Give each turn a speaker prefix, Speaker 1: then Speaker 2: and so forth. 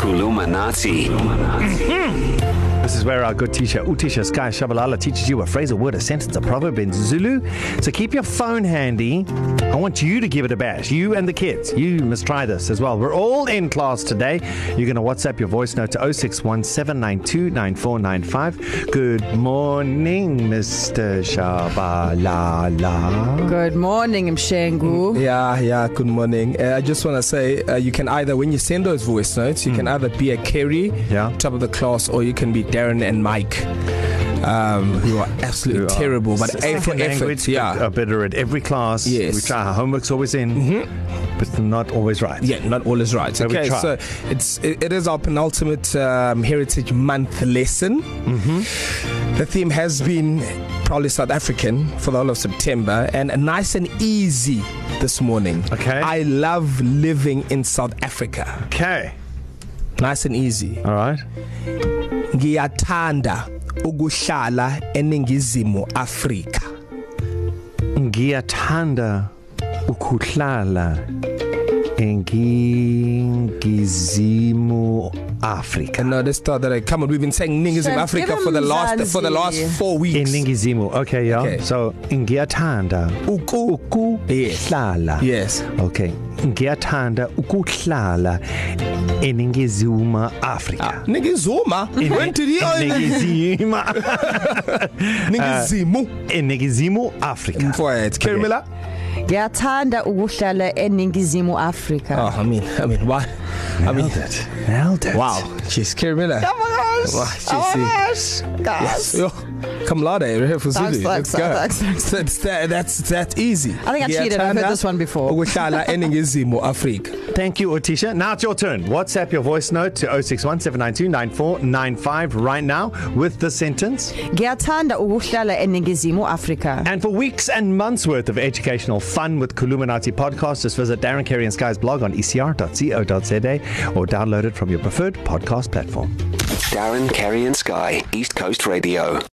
Speaker 1: Kulumanati.
Speaker 2: This is where our good teacher, Utisha Sky Shabalala, teaches you a phrase, a word, a sentence, a proverb in Zulu. So keep your phone handy. I want you to give it a bash. You and the kids. You must try this as well. We're all in class today. You're going to WhatsApp your voice note to 0617929495. Good morning, Mr. Shabalala.
Speaker 3: Good morning, Mshengu.
Speaker 4: Yeah, yeah, good morning. Uh, I just want to say uh, you can either, when you send those voice notes, you mm. can either be a Kerry,
Speaker 2: Yeah.
Speaker 4: top of the class, or you can be Darren and Mike. Um, who are absolutely
Speaker 2: Who are
Speaker 4: terrible, but
Speaker 2: s-
Speaker 4: A for
Speaker 2: second
Speaker 4: effort.
Speaker 2: language,
Speaker 4: Yeah.
Speaker 2: but are better at every class.
Speaker 4: Yes.
Speaker 2: We try. Our homework's always in, mm-hmm. but not always right.
Speaker 4: Yeah, not all is right.
Speaker 2: So we
Speaker 4: okay,
Speaker 2: try.
Speaker 4: so it's it, it is our penultimate um, Heritage Month lesson. Mm-hmm. The theme has been probably South African for the whole of September, and nice and easy this morning.
Speaker 2: Okay.
Speaker 4: I love living in South Africa.
Speaker 2: Okay.
Speaker 4: Nice and easy.
Speaker 2: All right.
Speaker 4: Ngiyathanda ukuhlala eningizimu Afrika.
Speaker 2: Ngiyathanda ukuhlala engingizimu Africa.
Speaker 4: No, let's start that. Come on, we've been saying ningizimu
Speaker 3: Shem,
Speaker 4: Afrika
Speaker 3: give
Speaker 4: for the
Speaker 3: him
Speaker 4: last for the last
Speaker 3: Mzansi.
Speaker 4: four weeks.
Speaker 2: Eningizimu. Okay, yeah. Okay.
Speaker 4: Okay.
Speaker 2: So ngiyathanda
Speaker 4: Uku. Yes.
Speaker 2: ukuhlala.
Speaker 4: Yes.
Speaker 2: Okay. Ngiyathanda ukuhlala eningizimu
Speaker 4: Ah,
Speaker 2: Africa.
Speaker 4: Ningizuma. When did he
Speaker 2: Eningizimu
Speaker 4: Ningizimu.
Speaker 2: eningizimu
Speaker 4: Ah.
Speaker 2: Africa.
Speaker 4: Mfowethu Carmela.
Speaker 3: Ngiyathanda ukuhlala eningizimu Afrika.
Speaker 4: Oh, I mean, I mean, why? I mean,
Speaker 2: it. Nailed it.
Speaker 4: wow. She's Carmela. Wow, she's yes. Yo, Kamlada, we're here for Zulu.
Speaker 3: Thanks,
Speaker 4: Let's
Speaker 3: thanks,
Speaker 4: go.
Speaker 3: thanks, thanks.
Speaker 4: That's that, that's that easy. I
Speaker 3: think I cheated. I've heard this one before.
Speaker 4: Ukuhlala eningizimu Afrika.
Speaker 2: Thank you, Otisha. Now it's your turn. WhatsApp your voice note to 0617929495 right now with the sentence.
Speaker 3: Ngiyathanda ukuhlala eningizimu Afrika.
Speaker 2: And for weeks and months worth of educational fun with Kuluminati podcast, just visit Darren Carey and Sky's blog on E ecr.co.za or download it from your preferred podcast platform.
Speaker 1: Darren, Kerry, and Sky, East Coast Radio.